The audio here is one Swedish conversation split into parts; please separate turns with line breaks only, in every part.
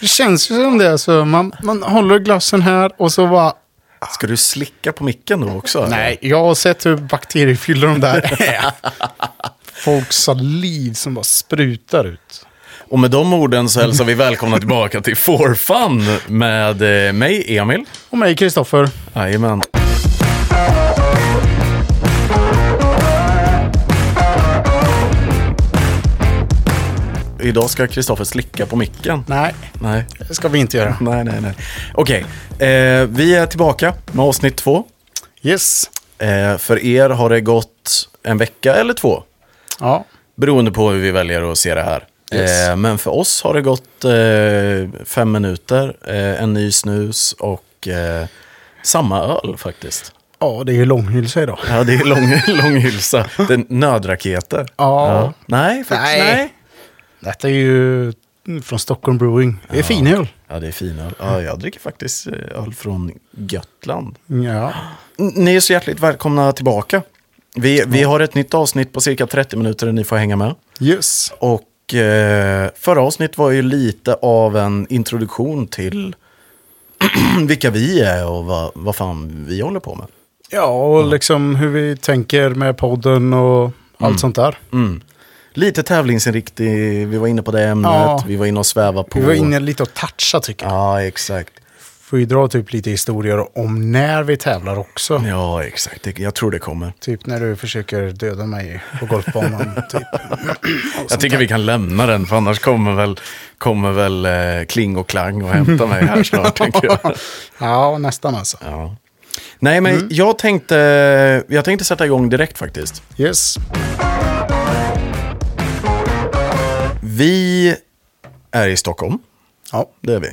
Det känns ju som det. Alltså. Man, man håller glassen här och så bara...
Ska du slicka på micken då också? eller?
Nej, jag har sett hur bakteriefyllda de där är. Folks saliv som bara sprutar ut.
Och med de orden så hälsar vi välkomna tillbaka till For Fun med eh, mig, Emil.
Och mig, Kristoffer.
Jajamän. Idag ska Kristoffer slicka på micken.
Nej,
Nej.
det ska vi inte göra.
Nej, nej, nej. Okej, eh, vi är tillbaka med avsnitt två.
Yes.
Eh, för er har det gått en vecka eller två,
Ja,
beroende på hur vi väljer att se det här.
Yes.
Eh, men för oss har det gått eh, fem minuter, eh, en ny snus och eh, samma öl faktiskt.
ja det är ju långhylsa idag.
Ja, det är lång, lång hylsa. Det är nödraketer.
Ja.
Nej, faktiskt nej.
Nej. Detta är ju från Stockholm Brewing. Det är finöl.
Ja, det är finöl. Ja, jag dricker faktiskt eh, öl från Götland.
Ja.
N- Ni är så hjärtligt välkomna tillbaka. Vi, vi har ett nytt avsnitt på cirka 30 minuter där ni får hänga med.
Yes.
Och eh, förra avsnitt var ju lite av en introduktion till vilka vi är och vad, vad fan vi håller på med.
Ja, och liksom hur vi tänker med podden och allt sånt där.
Mm. Lite tävlingsinriktning, vi var inne på det ämnet,
Ja.
vi var inne och sväva på.
Vi var inne lite och toucha tycker jag.
Ja, exakt.
Får ju dra typ lite historier om när vi tävlar också.
Ja, exakt. Det- Jag tror det kommer.
Typ när du försöker döda mig på golfbanan. typ.
Jag tycker vi kan lämna den, för annars kommer väl, kommer väl eh, Kling och Klang och hämta mig här snart, tänker jag.
Ja, nästan alltså.
Ja. Nej,
Mm.
men jag, tänkte, jag tänkte sätta igång direkt faktiskt.
Yes.
Vi är i Stockholm,
Ja,
det är vi.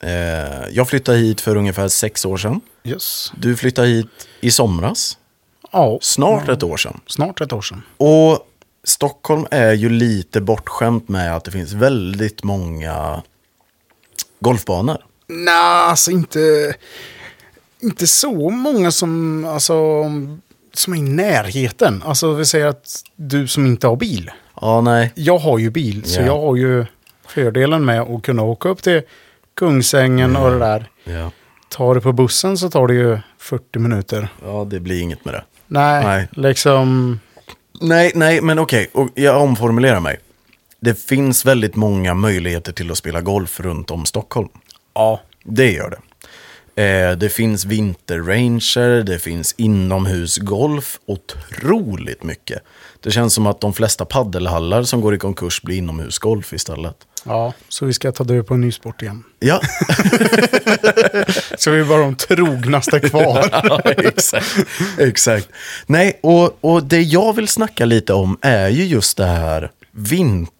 Eh, Jag flyttade hit för ungefär sex år sedan.
yes.
Du flyttade hit i somras,
Ja,
snart ett år sedan.
snart ett år sedan.
Och Stockholm är ju lite bortskämt med att det finns väldigt många golfbanor.
Nej, alltså inte, inte så många som, alltså, som är i närheten. Alltså vi säger att du som inte har bil.
Ja, nej.
Jag har ju bil, så
Ja.
jag har ju fördelen med att kunna åka upp till Kungsängen och det där.
Ja.
Tar det på bussen så tar det ju 40 minuter.
ja, det blir inget med det.
Nej,
Nej.
liksom...
Nej, nej, men okej. Och Jag omformulerar mig. Det finns väldigt många möjligheter till att spela golf runt om Stockholm.
Ja.
Det gör det. Eh, det finns vinterranger, det finns inomhusgolf, otroligt mycket. Det känns som att de flesta paddelhallar som går i konkurs blir inomhusgolf istället.
Ja, så vi ska ta död på en ny sport igen.
Ja,
Så vi är bara de trognaste kvar.
ja exakt. exakt. Nej, och, och det jag vill snacka lite om är ju just det här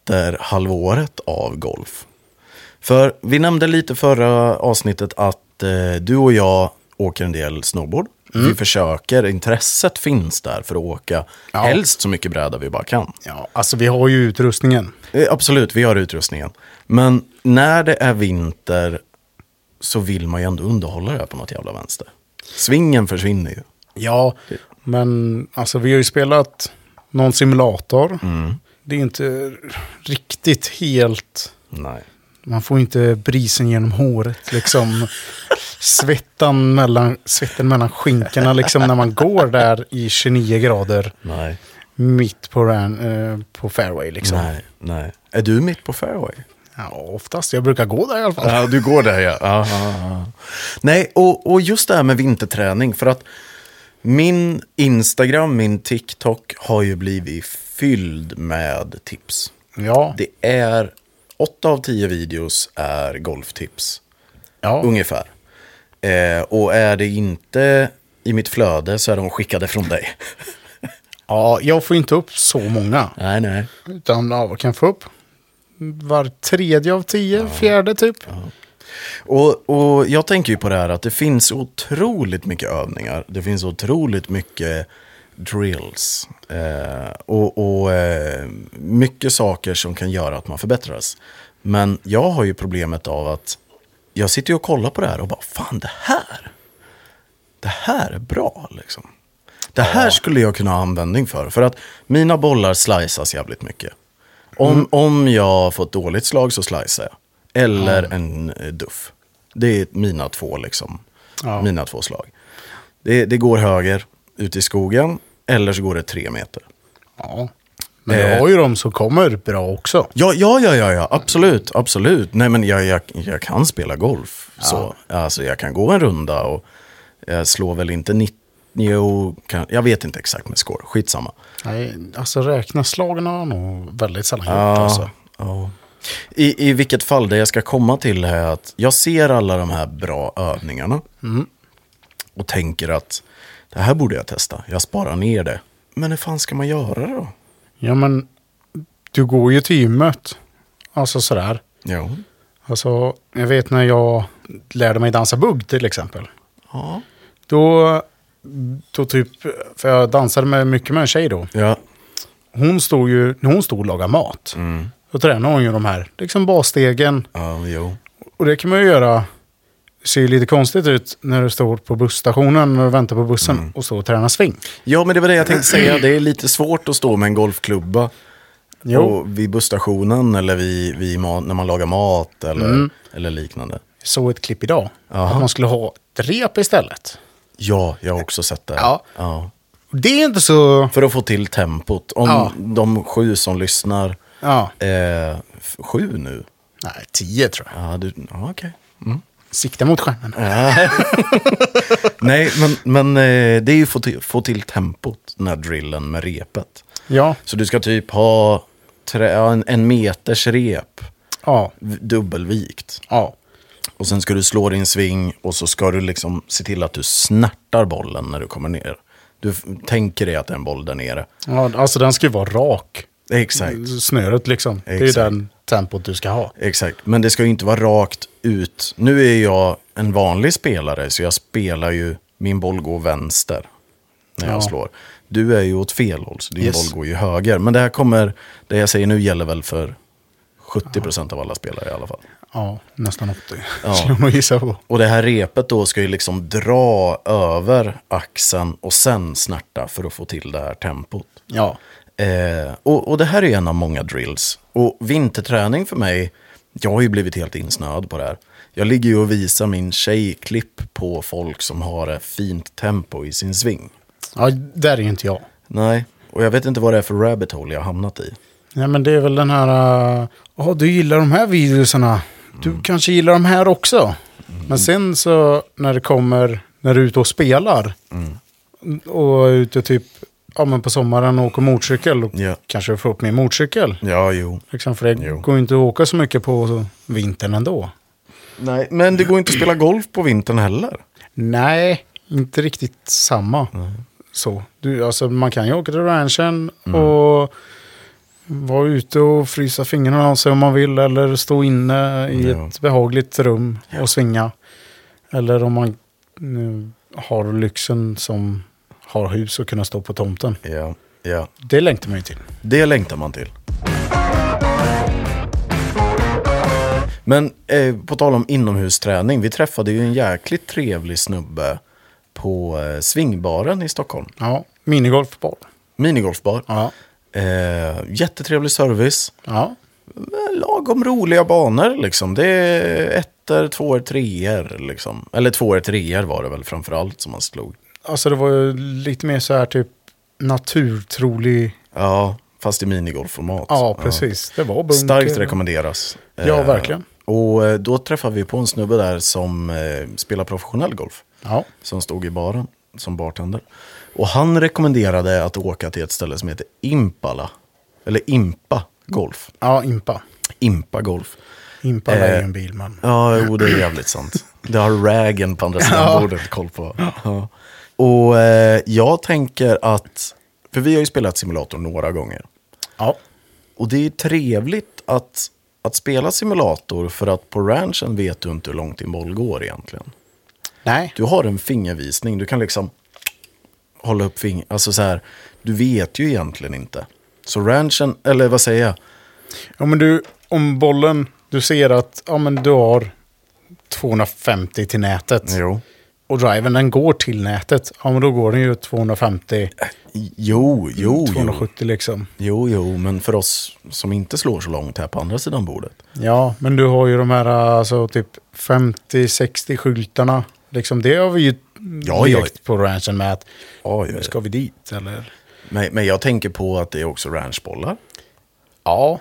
vinterhalvåret av golf. För vi nämnde lite förra avsnittet att eh, du och jag åker en del snowboard. Vi försöker, intresset finns där för att åka
Ja.
helst så mycket bräda vi bara kan.
Ja, alltså vi har ju utrustningen.
Eh, Absolut, vi har utrustningen. Men när det är vinter så vill man ju ändå underhålla det här på något jävla vänster. Svingen försvinner ju.
Ja, men alltså vi har ju spelat någon simulator. Det är ju inte riktigt helt...
Nej.
Man får inte brisen genom håret, liksom. Svettan mellan, svetten mellan skinkorna, liksom när man går där i 29 grader
Nej.
mitt på, ran, eh, på fairway, liksom.
Nej, nej. Är du mitt på fairway?
Ja, oftast. Jag brukar gå där i alla fall.
Ja, du går där ja. ja, ja, ja. Nej, och, och just det här med vinterträning. För att min Instagram, min TikTok har ju blivit fylld med tips.
Ja,
Det är, åtta av tio videos är golftips.
ja.
Ungefär. Eh, och är det inte i mitt flöde så är de skickade från dig.
ja, jag får inte upp så många.
Nej, nej.
Utan ja, vad kan jag få upp var tredje av tio, fjärde typ.
Och, och jag tänker ju på det här att det finns otroligt mycket övningar. Det finns otroligt mycket drills. Eh, och och eh, mycket saker som kan göra att man förbättras. Men jag har ju problemet av att jag sitter ju och kollar på det här och bara fan det här. Det här är bra liksom. Det här skulle jag kunna ha användning för. För att mina bollar sliceas jävligt mycket. Om, om jag får ett dåligt slag så slicear jag. eller en eh, duff. Det är mina två liksom.
Ja.
Mina två slag. Det, det går höger ute i skogen, eller så går det tre meter.
Ja. Men
Eh.
du har ju de som kommer bra också.
Ja, ja, ja, ja, ja. absolut, absolut. Nej, men jag, jag, jag kan spela golf. Så. Alltså, jag kan gå en runda och jag slår väl inte 90, jo, kan, jag vet inte exakt med score, skitsamma.
Nej, alltså räkna slagen har jag nog väldigt sällan gjort. Alltså.
Ja. I, I vilket fall, det jag ska komma till är att jag ser alla de här bra övningarna och tänker att det här borde jag testa, jag sparar ner det. Men hur fan ska man göra då?
Ja, men du går ju till gymmet. Alltså sådär.
Jo.
Alltså, jag vet när jag lärde mig dansa bugg till exempel.
Ja.
Då, då typ, för jag dansade med, mycket med en tjej då.
Ja.
Hon stod ju, när hon stod och lagade mat,
Mm.
då tränade hon ju de här liksom basstegen.
Ja, jo.
Och det kan man ju göra, det ser ju lite konstigt ut när du står på busstationen och väntar på bussen
Mm.
och står och tränar sving.
Ja, men det var det jag tänkte säga. Det är lite svårt att stå med en golfklubba
Jo.
Och vid busstationen eller vid, vid ma- när man lagar mat eller,
Mm.
eller liknande.
Jag såg ett klipp idag,
Jaha.
att man skulle ha ett rep istället.
Ja, jag har också sett det.
Ja. Och Det är inte så...
För att få till tempot. Om
Ja.
de sju som lyssnar,
Ja,
eh, f- sju nu?
nej, tio tror jag.
Ja, du, ja okej.
Sikta mot stjärnan.
Nej, men, men eh, det är ju få till, få till tempot, den här drillen med repet.
Ja,
Så du ska typ ha trä, ja, en, en meters rep,
ja,
v- dubbelvikt.
ja.
Och sen ska du slå din sving och så ska du liksom se till att du snärtar bollen när du kommer ner. Du f- tänker dig att det är en boll där nere.
ja alltså den ska ju vara rak.
Exakt.
Snöret liksom. Det är ju
Exakt.
den tempot du ska ha.
Exakt, men det ska ju inte vara rakt ut. Nu är jag en vanlig spelare, så jag spelar ju, min boll går vänster när jag
Ja.
slår. Du är ju åt fel håll, så din
Yes.
boll går ju höger. Men det här kommer, det jag säger nu gäller väl för 70% av alla spelare i alla fall.
Ja, nästan 80. Skulle jag nog gissa på.
Och det här repet då ska ju liksom dra över axeln och sen snärta för att få till det här tempot.
Ja.
Eh, och, och det här är ju en av många drills. Och vinterträning för mig, jag har ju blivit helt insnöad på det här. Jag ligger ju och visar min tjej klipp på folk som har ett fint tempo i sin sving.
ja, där är ju inte jag.
Nej, och jag vet inte vad det är för rabbit hole jag har hamnat i.
Nej, men det är väl den här... äh, Ja, du gillar de här videorna. Du kanske gillar de här också. Men sen så när det kommer, när du är ute och spelar. Och är ute typ, ja men på sommaren och åker motorcykel. Då
Ja.
kanske du får upp min motorcykel.
Ja, jo.
Liksom, för det
Jo.
går ju inte att åka så mycket på vintern ändå.
Nej, men det går inte att spela golf på vintern heller.
Nej, inte riktigt samma. Så. Du, alltså, man kan ju åka till ranchen och vara ute och frysa fingrarna av sig om man vill. Eller stå inne i
Ja.
ett behagligt rum och svinga. Eller om man nu, har lyxen som har hus och kunna stå på tomten.
Ja, ja.
Det längtar man ju till.
Det längtar man till. Men eh, på tal om inomhusträning, vi träffade ju en jäkligt trevlig snubbe på eh, Svingbaren i Stockholm.
Ja, minigolfboll.
Minigolfbar.
Ja.
Eh, jättetrevlig service.
ja.
Eh, Lagom roliga banor liksom. Det är ettor, tvåor, treor liksom. Eller tvåor, treor var det väl framförallt som man slog.
Alltså det var ju lite mer så här typ naturtrolig.
Ja, fast i minigolfformat.
Ja, precis. Det var bunker.
Starkt rekommenderas.
Ja, verkligen.
Och eh, då träffade vi på en snubbe där som eh, spelar professionell golf.
Ja.
Som stod i baren som bartender. Och han rekommenderade att åka till ett ställe som heter Impala. Eller Impa Golf.
ja, impa.
Impa Golf.
Impala är
Eh,
ju en bil, men...
Ja, jo, det är jävligt sant. Det har Ragen på andra sidan bordet koll på. Ja. Och eh, jag tänker att, för vi har ju spelat simulator några gånger.
Ja.
Och det är trevligt att, att spela simulator för att på ranchen vet du inte hur långt din boll går egentligen.
Nej.
Du har en fingervisning, du kan liksom hålla upp fingret. Alltså så här, du vet ju egentligen inte. Så ranchen, eller vad säger jag?
Ja, men du, om bollen, du ser att ja, men du har 250 till nätet.
Jo.
och driven den går till nätet, ja men då går den ju 250,
Jo, jo, jo.
270 liksom.
Jo, jo, men för oss som inte slår så långt här på andra sidan bordet.
Ja, men du har ju de här alltså typ 50-60 skyltarna. Liksom det har vi ju
Ja, Eh. ja.
lekt på ranchen med att
Ja,
nu ska vi dit eller?
Men, men jag tänker på att det är också ranchbollar.
Ja.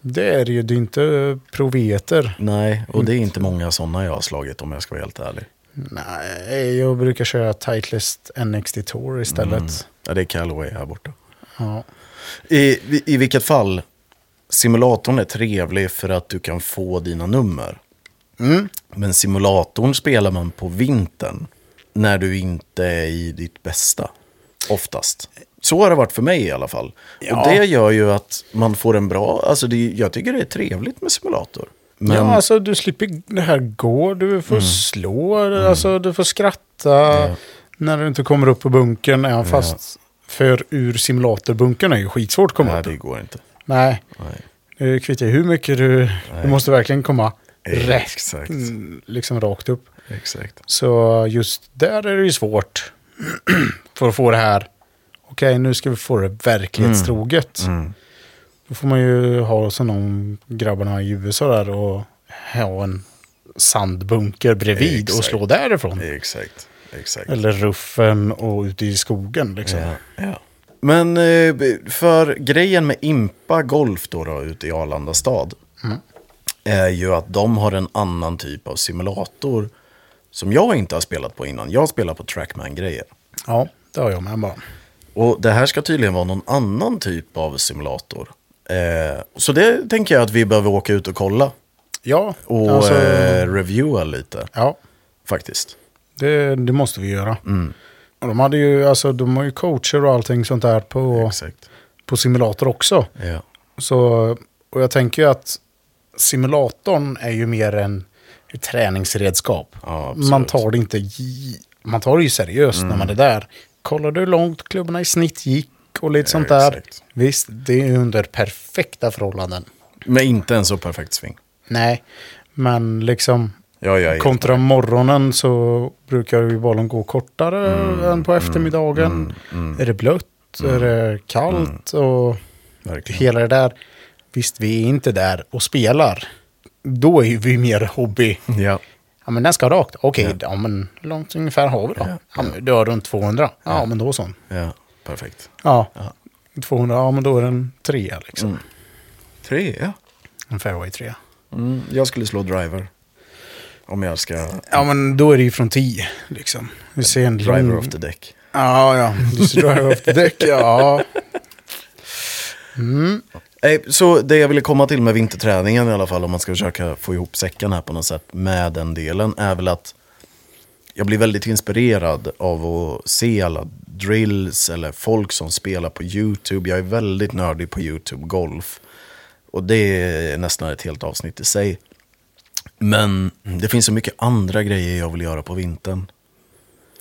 Det är det ju, det är inte proveter.
Nej, och det är inte många sådana jag har slagit om jag ska vara helt ärlig.
Nej, jag brukar köra Titleist NXT Tour istället.
Ja, det är Callaway här borta.
Ja.
I, i- I vilket fall, simulatorn är trevlig för att du kan få dina nummer. Men simulatorn spelar man på vintern när du inte är i ditt bästa, oftast. Så har det varit för mig i alla fall.
Ja.
Och det gör ju att man får en bra, alltså det, jag tycker det är trevligt med simulator. Men, Mm.
ja, alltså du slipper det här gå, du får slå, alltså du får skratta när du inte kommer upp på bunkern. Även fast för ur simulatorbunken är ju skitsvårt att komma
nej,
upp.
det går inte.
Nej,
Nej.
det kvittar ju hur mycket du... Du måste verkligen komma rätt,
Exakt,
mm, liksom rakt upp.
exakt.
Så just där är det ju svårt för att få det här. Okej, nu ska vi få det verklighetstroget.
Mm.
Då får man ju ha som de grabbarna i USA där och ha en sandbunker bredvid och
Exakt.
slå därifrån.
Exakt, exakt.
Eller ruffen och ute i skogen liksom.
Ja, ja. Men eh, för grejen med Impa Golf då, då ute i Arlanda stad är ju att de har en annan typ av simulator som jag inte har spelat på innan. Jag spelar på Trackman-grejer.
Ja, det har jag med bara.
Och det här ska tydligen vara någon annan typ av simulator. Eh, så det tänker jag att vi behöver åka ut och kolla
Ja,
och
alltså,
eh, reviewa lite
ja
faktiskt.
det, det måste vi göra.
Mm.
Och de, hade ju, alltså, de har ju coacher och allting sånt där på,
Exakt.
på simulator också.
Ja.
Så, och jag tänker ju att simulatorn är ju mer en ett träningsredskap.
Ja, absolut. Mm.
man tar det inte gi- man tar det ju seriöst när man är där. Kollar du hur långt klubborna i snitt gick och lite sånt där.
exakt.
Visst, det är under perfekta förhållanden.
Men inte en så perfekt sving.
Nej, men liksom
Ja, ja, ja.
kontra morgonen så brukar ju bollen gå kortare
Mm.
än på eftermiddagen. Är det blött? Är det kallt? Och
Mm. Verkligen.
hela det där. Visst, vi är inte där och spelar. Då är ju vi mer hobby.
Ja.
Ja, men den ska rakt. Okej, ja. men hur långt ungefär har vi då? Ja, men du har runt 200. Ja, men då så.
ja, perfekt.
Ja. 200, ja men då är den trea liksom.
Mm. Tre, ja.
En fairway trea.
Mm, jag skulle slå driver. Om jag ska...
Ja, men då är det ju från 10 liksom. Vi ser en
Driver
lång-
of the deck.
Ja, ja. Du ser driver off the deck, ja.
Nej, Eh, så det jag ville komma till med vinterträningen i alla fall, om man ska försöka få ihop säcken här på något sätt med den delen, är väl att jag blir väldigt inspirerad av att se alla drills eller folk som spelar på YouTube. Jag är väldigt nördig på YouTube Golf. Och det är nästan ett helt avsnitt i sig. Men det finns så mycket andra grejer jag vill göra på vintern.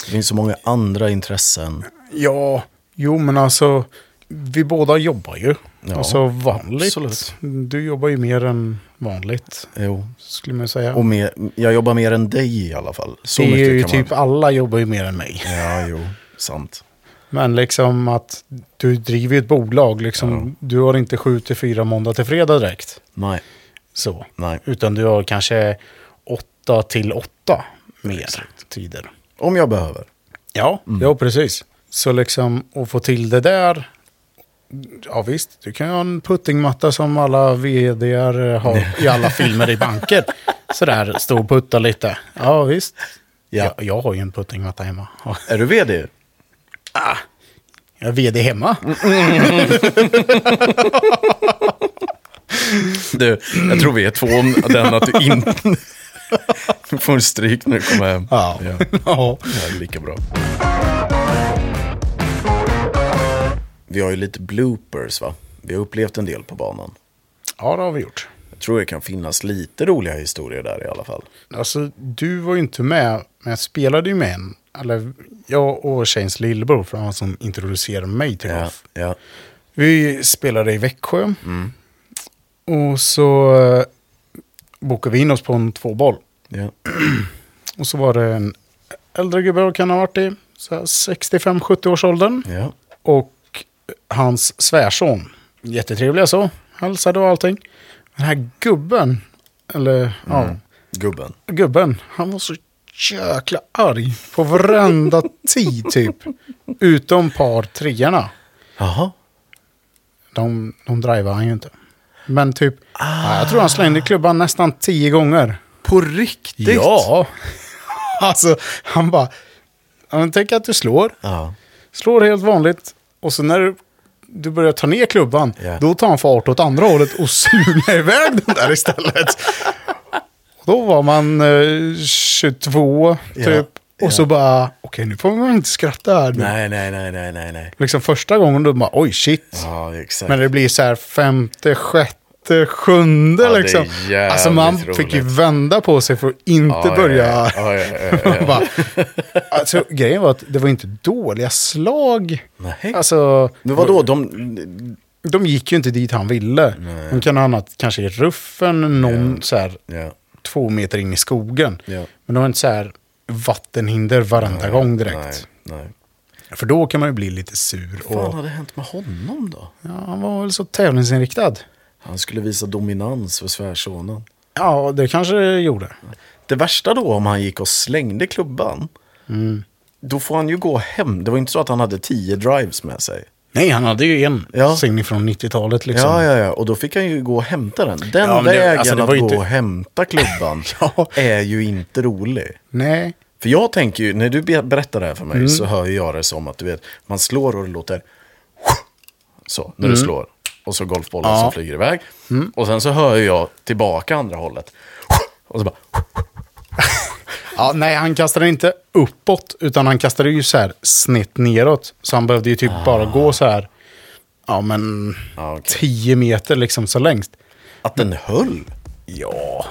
Det finns så många andra intressen.
Ja, jo men alltså, vi båda jobbar ju. alltså vanligt.
absolut.
Du jobbar ju mer än vanligt,
Jo.
skulle man säga.
Och mer, jag jobbar mer än dig i alla fall. Så
det
mycket
är ju
kan
typ,
man...
alla jobbar ju mer än mig.
Ja, jo, sant.
Men liksom att du driver ju ett bolag, liksom, du har inte 7 till 4 måndag till fredag direkt.
Nej,
Så.
nej.
Utan du har kanske 8 till 8 mer tider.
Om jag behöver.
Ja, ja precis. Mm. Så liksom att få till det där. Ja visst, du kan ju ha en puttingmatta som alla vdar har i alla filmer i banker. Sådär, stå och putta lite. Ja visst.
Ja.
Jag, jag har ju en puttingmatta hemma. Ja.
Är du vd?
Jag är vd hemma.
Mm. Du, jag tror vi är två om den att du inte... Du får en stryk när du kommer hem.
Ja.
ja.
ja.
Ja, det är lika bra. Vi har ju lite bloopers, va? Vi har upplevt en del på banan.
Ja, det har vi gjort.
Jag tror det kan finnas lite roliga historier där i alla fall.
Alltså, du var ju inte med, men jag spelade ju med en. Eller jag och tjejens lillebror, för han var som introducerade mig till golf.
ja.
Vi spelade i Växjö. Och så eh, bokade vi in oss på en tvåboll.
ja.
Och så var det en äldre gubbe och kan ha varit i så här 65-70 års åldern.
Ja.
Och hans svärson. Jättetrevliga så. Hälsade och allting. Den här gubben. Eller ja.
Gubben.
gubben, han var så jäkla arg på varenda tid typ. Utom par treorna.
Jaha.
De, de driver han ju inte. Men typ, ja, jag tror han slängde klubban nästan tio gånger.
På riktigt?
Ja. alltså, han bara, ja, men tänk att du slår.
Ja.
Slår helt vanligt. Och så när du, du börjar ta ner klubban,
Ja.
då tar han fart åt andra hållet och suger iväg den där istället. Och då var man eh, 22 typ.
Ja,
Och så bara, okej nu får man inte skratta här. nu.
Nej, nej, nej, nej, nej, nej.
Liksom första gången då bara, oj shit.
Ja, exakt.
Men det blir så här femte, sjätte, sjunde
Ja, det är
liksom.
jävligt
Alltså man
roligt.
fick ju vända på sig för att inte
Ja, ja,
börja.
ja, ja, ja, ja, ja.
Bara, alltså, grejen var att det var inte dåliga slag.
Nej.
Alltså,
Men vadå, de...
de gick ju inte dit han ville. De kan ha hamnat kanske i ruffen, någon så här
Ja.
två meter in i skogen.
Ja.
Men de har inte så här vattenhinder varenda gång direkt.
Nej, nej.
För då kan man ju bli lite sur.
Vad fan
Och,
hade hänt med honom då?
ja, han var väl så tävlingsinriktad.
Han skulle visa dominans för svärsonen.
Ja, det kanske det gjorde.
Det värsta då om han gick och slängde klubban,
Mm.
då får han ju gå hem. Det var inte så att han hade tio drives med sig.
Nej, han hade ju en
Ja.
singel från 90-talet liksom.
Ja, ja, ja. Och då fick han ju gå och hämta den. Den
Ja, men det-
vägen
alltså, det
att
var
gå
ju inte-
och hämta klubban
Ja.
är ju inte rolig.
Nej.
För jag tänker ju, när du be- berättar det här för mig så hör ju jag det som att du vet, man slår och det låter så när du slår. Och så golfbollen som flyger iväg. Och sen så hör ju jag tillbaka andra hållet. Och så bara,
Ja, nej, han kastade inte uppåt, utan han kastade ju så här snett neråt. Så han behövde ju typ bara gå så här, ja men,
Ja, okej.
10 meter liksom så längst.
att den höll.
Ja.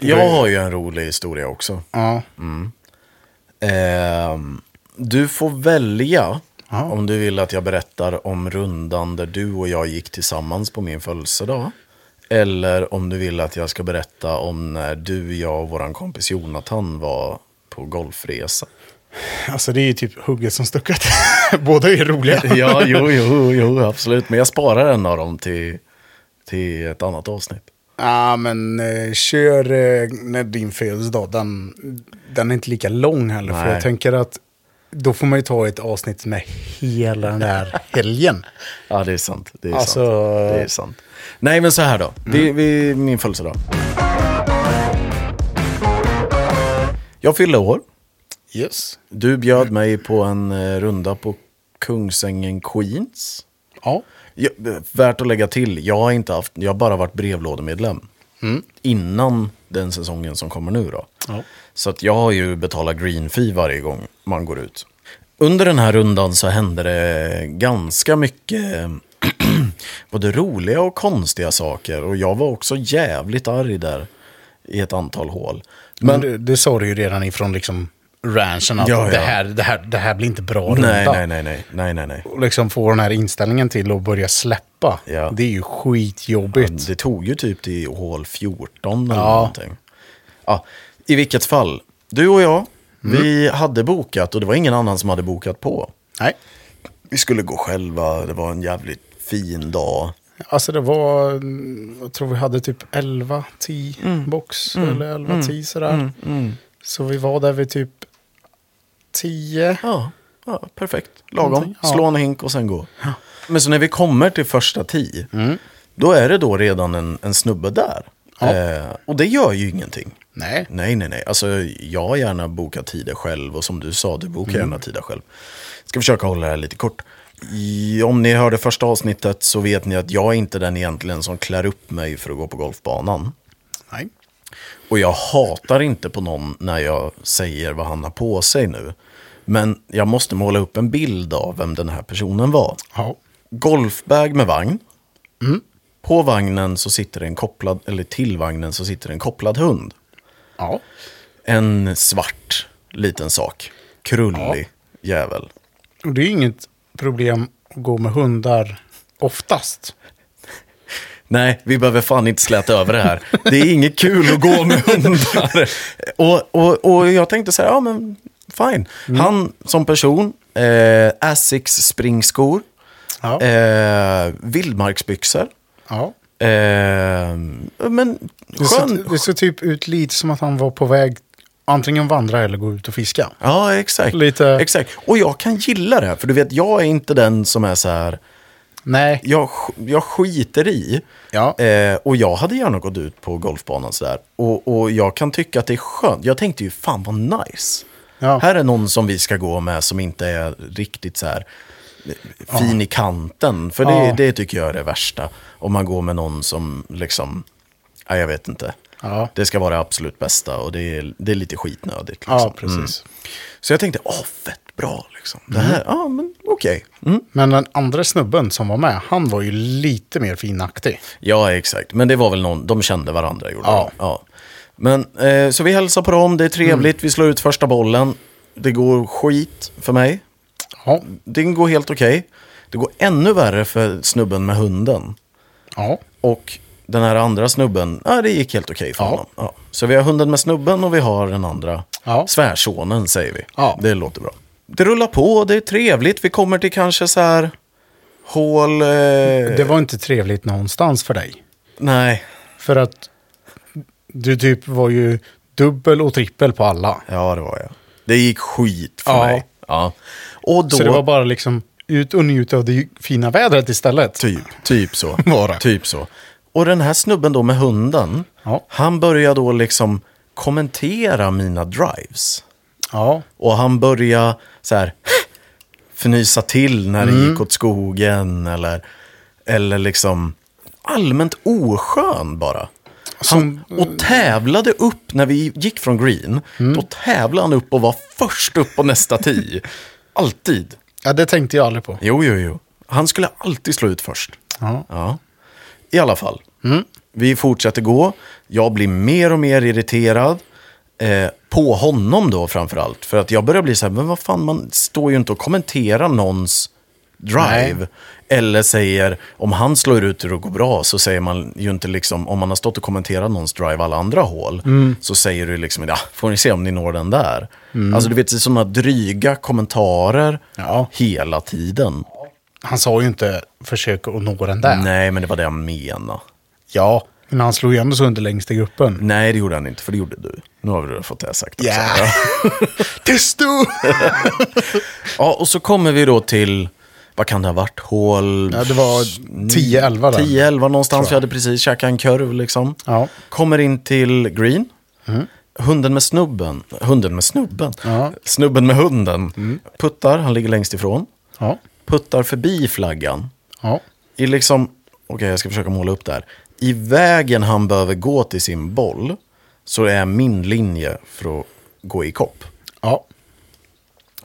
Jag har ju en rolig historia också.
Ja.
Ehm, du får välja
Ja.
om du vill att jag berättar om rundan där du och jag gick tillsammans på min födelsedag. Eller om du vill att jag ska berätta om när du, jag och vår kompis Jonathan var på golfresa.
Alltså det är ju typ hugget som stucket. Båda är roliga.
Ja, jo, jo, jo, absolut. Men jag sparar en av dem till, till ett annat avsnitt.
Ja, men eh, kör eh, när din födelsedag. Den, den är inte lika lång heller. För
Nej.
jag tänker att då får man ju ta ett avsnitt med hela den där helgen.
Ja, det är sant. Det är,
Alltså-
sant. Det är sant. Nej, men så här då. Vi, vi, min födelsedag. Jag fyllde år.
Yes.
Du bjöd mig på en eh, runda på Kungsängen Queens.
Ja.
Ja, värt att lägga till, jag har, inte haft, jag har bara varit brevlådemedlem. Innan den säsongen som kommer nu då.
Mm. Ja.
Så att jag har ju betalat green fee varje gång man går ut. Under den här rundan så hände det ganska mycket både roliga och konstiga saker. Och jag var också jävligt arg där i ett antal hål.
Men det, det sa du ju redan ifrån liksom ranchen att
Ja, ja.
Det, här, det, här, det här blir inte bra
Nej,
runda.
nej, nej, nej, nej, nej, nej.
Och liksom få den här inställningen till att börja släppa.
Ja.
Det är ju skitjobbigt.
Det tog ju typ till hål 14 eller
Ja.
någonting. Ja, I vilket fall, du och jag,
Mm.
vi hade bokat och det var ingen annan som hade bokat på.
Nej.
Vi skulle gå själva, det var en jävligt fin dag.
Alltså det var, mm, jag tror vi hade typ 11-10 box eller 11-10 sådär. Så vi var där vid typ 10.
Ja, ja perfekt. Lagom.
Någonting, ja.
Slå en hink och sen gå. Men så när vi kommer till första tio, då är det då redan en, en snubbe där.
Mm. Ja.
Eh, och det gör ju ingenting.
Nej.
Nej, nej, nej. Alltså, jag har gärna bokat tider själv och som du sa, du bokar gärna tider själv. Ska försöka hålla det här lite kort. I- Om ni hörde första avsnittet så vet ni att jag är inte den egentligen som klär upp mig för att gå på golfbanan.
Nej.
Och jag hatar inte på någon när jag säger vad han har på sig nu. Men jag måste måla upp en bild av vem den här personen var.
Ja.
Golfbag med vagn. På vagnen så sitter det en kopplad, eller till vagnen så sitter det en kopplad hund.
Ja.
En svart liten sak. Krullig jävel.
Och det är ju inget problem att gå med hundar oftast.
Nej, vi behöver fan inte släta över det här. Det är inget kul att gå med hundar. Och, och, och jag tänkte så här, ja men fine.
Mm.
Han som person, eh, Asics springskor,
Ja.
eh, vildmarksbyxor.
Ja.
Eh, men
Det,
skön...
ser, det ser typ ut lite som att han var på väg antingen vandra eller gå ut och fiska.
Ja, exakt.
Lite-
exakt. Och jag kan gilla det, här, för du vet, jag är inte den som är så här,
Nej.
jag, sk- jag skiter i.
Ja.
Eh, och jag hade gärna gått ut på golfbanan sådär. Och, och jag kan tycka att det är skönt. Jag tänkte ju, fan vad nice.
Ja.
Här är någon som vi ska gå med som inte är riktigt så här eh, fin i kanten. För det,
Ja.
det tycker jag är det värsta. Om man går med någon som liksom, ja, jag vet inte.
Ja.
Det ska vara det absolut bästa och det är, det är lite skitnödigt. Liksom.
Ja, precis. Mm.
Så jag tänkte, åh fett bra liksom. Det här, ja men okej. Mm.
Men den andra snubben som var med, han var ju lite mer finaktig.
Ja, exakt. Men det var väl någon, de kände varandra gjorde
Ja.
de. ja. Men, eh, så vi hälsar på dem, det är trevligt,
Mm.
vi slår ut första bollen. Det går skit för mig.
Ja.
Det går helt okej. Det går ännu värre för snubben med hunden.
Ja.
Och den här andra snubben, ja det gick helt okej för
Ja.
honom. Ja. Så vi har hunden med snubben och vi har den andra
Ja.
svärsonen säger vi.
Ja.
Det låter bra. Det rullar på, det är trevligt, vi kommer till kanske så här hål... Eh,
Det var inte trevligt någonstans för dig.
Nej,
För att du typ var ju dubbel och trippel på alla.
ja det var jag. Det gick skit för
Ja.
mig. Ja. Och då...
Så det var bara liksom ut och njuta av det fina vädret istället.
Typ, typ så.
Var det.
Typ så. Och den här snubben då med hunden,
Ja.
han börjar då liksom kommentera mina drives.
Ja.
Och han började så här fnysa till när det gick åt skogen eller, eller liksom allmänt oskön bara. Han, och tävlade upp när vi gick från green. Då tävlade han upp och var först upp på nästa tee. alltid.
ja, det tänkte jag aldrig på.
Jo, jo, jo. Han skulle alltid slå ut först.
Ja.
Ja. I alla fall.
Mm.
Vi fortsätter gå. Jag blir mer och mer irriterad. Eh, på honom då framförallt. För att jag börjar bli så här, men vad fan, man står ju inte och kommenterar någons drive.
Nej.
Eller säger, om han slår ut och det går bra, så säger man ju inte liksom, om man har stått och kommenterat någons drive alla andra hål,
Mm.
så säger du liksom, ja, får ni se om ni når den där. Alltså du vet, det är sådana dryga kommentarer
Ja.
hela tiden.
Han sa ju inte försök att nå den där.
Nej, men det var det jag menade.
Ja, men han slog ju ändå så under längst i gruppen.
Nej, det gjorde han inte, för det gjorde du. Nu har vi fått det här sagt också.
Yeah. Testo!
Ja, och så kommer vi då till, vad kan det ha varit, hål...
Ja, det var 10-11 där.
10-11 någonstans, vi hade precis käkat en kurv liksom.
Ja. Mm.
Kommer in till green. Hunden med snubben, hunden med snubben,
Ja. Mm.
snubben med hunden. Puttar, han ligger längst ifrån.
Ja.
Puttar förbi flaggan.
Ja.
I liksom, okej jag ska försöka måla upp det här. I vägen han behöver gå till sin boll så är min linje för att gå i kopp.
Ja.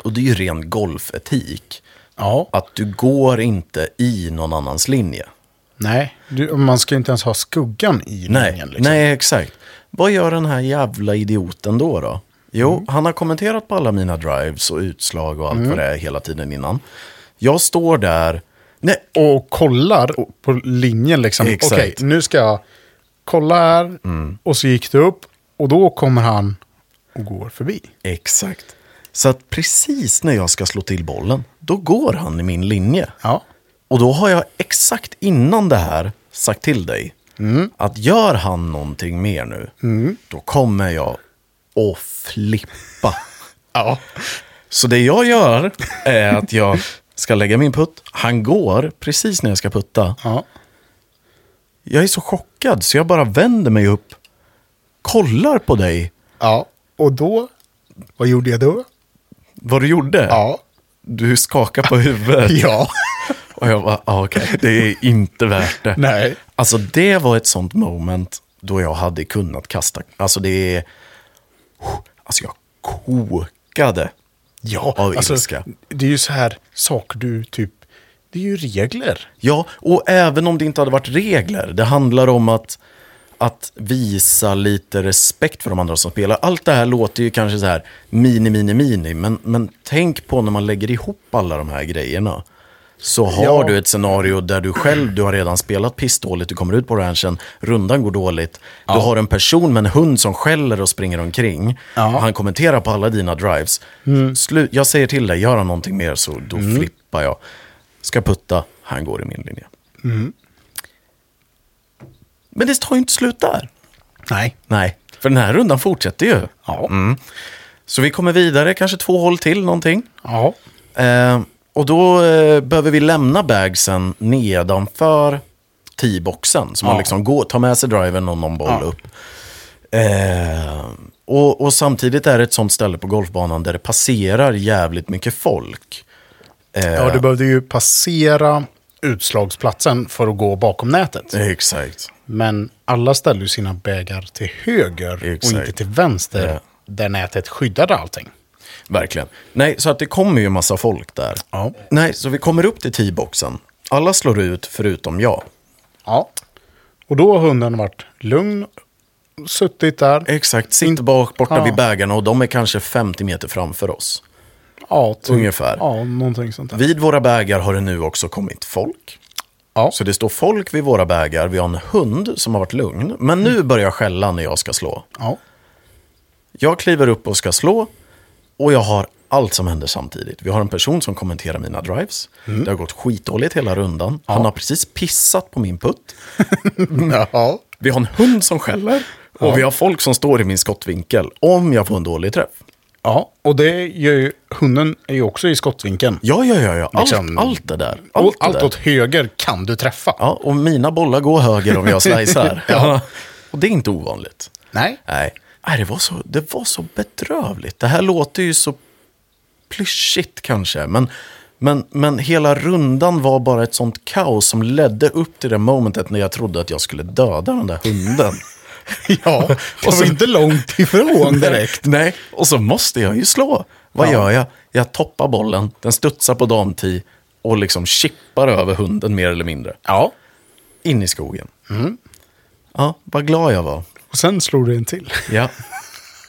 Och det är ju ren golfetik.
Ja.
Att du går inte i någon annans linje.
Nej, du, man ska ju inte ens ha skuggan i
Nej,
linjen. Liksom.
nej exakt. Vad gör den här jävla idioten då? då? Jo, han har kommenterat på alla mina drives och utslag och allt vad det är hela tiden innan. Jag står där, nej,
Och kollar på linjen liksom. Okej,
Exakt.
nu ska jag kolla här. Och så gick det upp. Och då kommer han och går förbi.
exakt. Så att precis när jag ska slå till bollen, då går han i min linje.
Ja.
Och då har jag exakt innan det här sagt till dig att gör han någonting mer nu, då kommer jag att flippa.
Ja.
Så det jag gör är att jag ska lägga min putt. Han går precis när jag ska putta.
Ja.
Jag är så chockad så jag bara vänder mig upp, kollar på dig,
Ja. Och då, vad gjorde jag då?
vad du gjorde.
Ja.
Du skakar på huvudet.
Ja.
Och jag bara, ah, okej, det är inte värt det.
Nej.
Alltså det var ett sånt moment då jag hade kunnat kasta. Alltså det är... Alltså jag kokade.
Ja, alltså,
Av ilska.
det är ju så här saker du typ... Det är ju regler.
Ja, och även om det inte hade varit regler. Det handlar om att, att visa lite respekt för de andra som spelar. Allt det här låter ju kanske så här mini, mini, mini. Men, men tänk på när man lägger ihop alla de här grejerna. Så har
Ja.
du ett scenario där du själv, du har redan spelat pissdåligt, du kommer ut på ranchen, rundan går dåligt. Du har en person med en hund som skäller och springer omkring. Han kommenterar på alla dina drives. Slu- jag säger till dig, gör han någonting mer så då flippar jag. Ska putta, han går i min linje.
Mm.
Men det tar ju inte slut där.
Nej.
Nej, Mm. för den här rundan fortsätter ju.
Ja.
Så vi kommer vidare, kanske två håll till någonting.
Ja.
Eh, och då eh, behöver vi lämna bagsen nedanför T-boxen. Så man
Ja.
liksom går, tar med sig drivern och någon boll upp. Eh, och, och samtidigt är det ett sånt ställe på golfbanan där det passerar jävligt mycket folk.
ja,
Eh.
du behövde ju passera utslagsplatsen för att gå bakom nätet.
Exakt.
Men alla ställde ju sina bägar till höger
Exakt.
och inte till vänster.
Ja.
Där nätet skyddade allting.
Verkligen. Nej, så att det kommer ju en massa folk där.
Ja.
Nej, så vi kommer upp till T-boxen. Alla slår ut förutom jag.
Ja. Och då har hunden varit lugn, suttit där.
Exakt, sitter bak borta
Ja.
vid bägarna och de är kanske 50 meter framför oss.
Ja, typ.
Ungefär.
Ja, någonting sånt där.
Vid våra bägar har det nu också kommit folk.
Ja.
Så det står folk vid våra bägar, vi har en hund som har varit lugn. Men
Mm.
nu börjar jag skälla när jag ska slå.
Ja.
Jag kliver upp och ska slå och jag har allt som händer samtidigt. Vi har en person som kommenterar mina drives.
Mm.
Det har gått skitdåligt hela rundan. Han har precis pissat på min putt.
ja.
Vi har en hund som skäller och vi har folk som står i min skottvinkel om jag får en dålig träff.
Ja, och det gör ju, hunden är ju också i skottvinkeln.
Ja, ja, ja, ja. Allt,
Liksom-
allt det där.
Allt,
Allt, det
allt
där.
åt höger kan du träffa.
Ja, och mina bollar går höger om jag slicear. ja. Och det är inte ovanligt.
Nej.
Nej, Nej det, var så, det var så bedrövligt. Det här låter ju så plyschigt kanske, men, men, men hela rundan var bara ett sånt kaos som ledde upp till det momentet när jag trodde att jag skulle döda den där hunden.
Ja, det
Och
var
så-
inte långt ifrån direkt.
Nej, och så måste jag ju slå. Vad
Ja.
gör jag? Jag toppar bollen, den studsar på damti och liksom chippar över hunden mer eller mindre.
Ja.
In i skogen. Ja, vad glad jag var.
Och sen slog det en till.
Ja.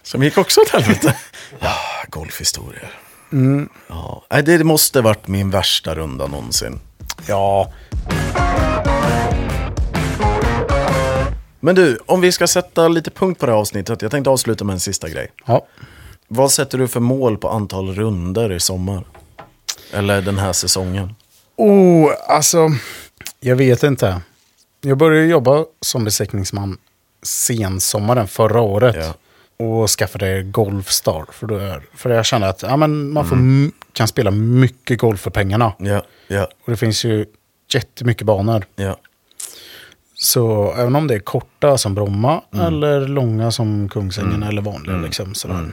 Som gick också åt helvete. Ja, golfhistorier. Ja. Nej, det måste varit min värsta runda någonsin.
Ja.
Men du, om vi ska sätta lite punkt på det här avsnittet. Jag tänkte avsluta med en sista grej.
Ja.
Vad sätter du för mål på antal runder i sommar? Eller den här säsongen?
Oh, alltså. Jag vet inte. Jag började jobba som besiktningsman sensommaren förra året.
Ja.
Och skaffade Golfstar. För, då är, för jag kände att ja, men man får, m- kan spela mycket golf för pengarna.
Mm. Ja, ja,
Och det finns ju jättemycket banor.
ja.
Så även om det är korta som Bromma eller långa som Kungsängen eller vanliga liksom sådär. Mm.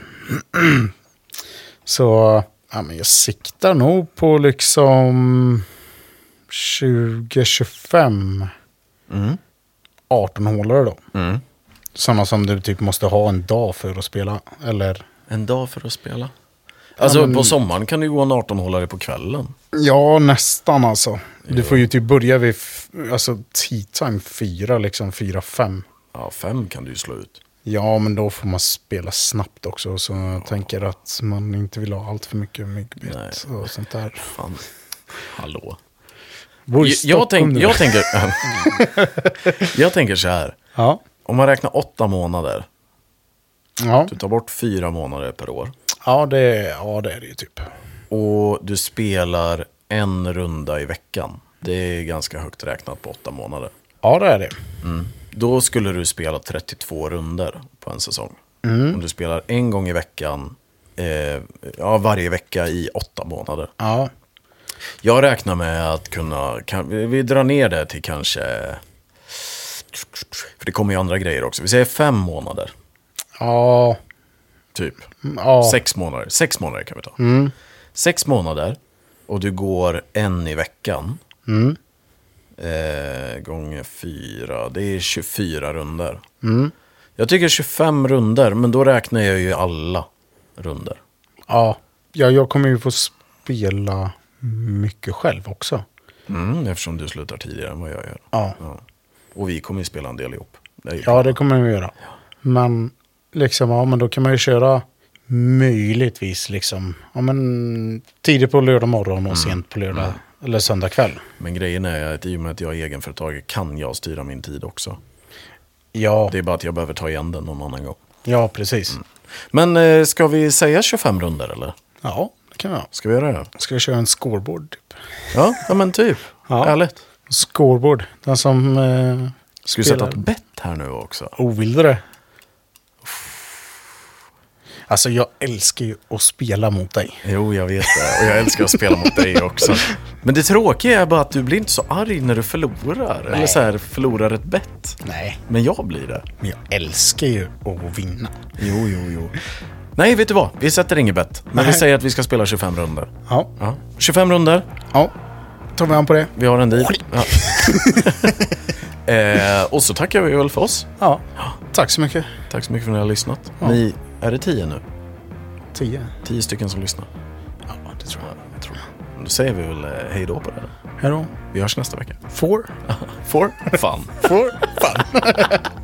Så ja, men jag siktar nog på liksom 20-25 Mm. 18-hålare då.
Mm.
Sådana som du typ måste ha en dag för att spela. Eller
En dag för att spela. Alltså på sommaren kan du ju gå en 18-hålare på kvällen.
ja, nästan alltså. Du får ju typ börja vid f- alltså, tea time 4, liksom 4-5.
Ja, fem kan du ju slå ut.
Ja, men då får man spela snabbt också. Så jag tänker att man inte vill ha allt för mycket myggbett och sånt där.
Fan. Hallå.
Bor i
Jag,
Stockholm
jag, tänk,
nu.
jag, tänker, jag tänker så här.
Ja.
Om man räknar åtta månader,
Ja.
du tar bort fyra månader per år
Ja, det, ja, det är det ju typ.
och du spelar en runda i veckan. Det är ganska högt räknat på åtta månader.
Ja, det är det.
Då skulle du spela 32 runder på en säsong. Om du spelar en gång i veckan, eh, ja, varje vecka i åtta månader.
Ja.
Jag räknar med att kunna, kan, vi- vi drar ner det till kanske, för det kommer ju andra grejer också. Vi säger fem månader,
Ja.
typ.
Ja. Mm.
Sex månader, sex månader kan vi ta. Sex månader och du går en i veckan.
Mm.
Eh, gånger fyra, det är 24 runder.
Mm.
Jag tycker 25 runder, men då räknar jag ju alla runder.
ja. ja, jag kommer ju få spela mycket själv också.
Mm, eftersom du slutar tidigare än vad jag gör.
Ja.
Ja. Och vi kommer ju spela en del ihop. Det är ju
Ja, det kommer jag att göra. Men liksom, ja, men då kan man ju köra
Mm.
möjligtvis liksom, ja men tidigt på lördag morgon och sent på lördag Eller söndag kväll.
Men grejen är att i och med att jag är egenföretagare kan jag styra min tid också.
Ja,
Det är bara att jag behöver ta igen den någon annan gång.
ja precis.
Mm. Men eh, ska vi säga 25 runder eller?
Ja, det kan vi ha.
Ska vi göra det?
Ska vi köra en scoreboard? Typ.
Ja, ja men typ.
Ja.
Ärligt.
Scoreboard. Den som eh,
Ska vi sätta
Spelar.
ett bett här nu också?
ovilde det. Alltså jag älskar ju att spela mot dig.
Jo, jag vet det. Och jag älskar att spela mot dig också. Men det tråkiga är bara att du blir inte så arg när du förlorar. Eller
Nej.
så här, förlorar ett bett.
Nej,
Men jag blir det.
men jag älskar ju att vinna.
Jo, jo, jo. Nej, vet du vad? Vi sätter inget bett. Men vi
Nej.
säger att vi ska spela 25 runder.
Ja,
Ja. 25 runder.
ja. Tar vi an på det?
Vi har en deal. Ja. eh, och så tackar vi väl för oss.
Ja. Tack så mycket.
Tack så mycket för att ni har lyssnat. Ni, är det tio nu?
Tio.
Tio stycken som lyssnar.
Ja, det tror jag.
Jag tror det. Då säger vi väl eh, hej då på det.
Här då.
Vi hörs nästa vecka.
Four.
For fun.
Four. Fan.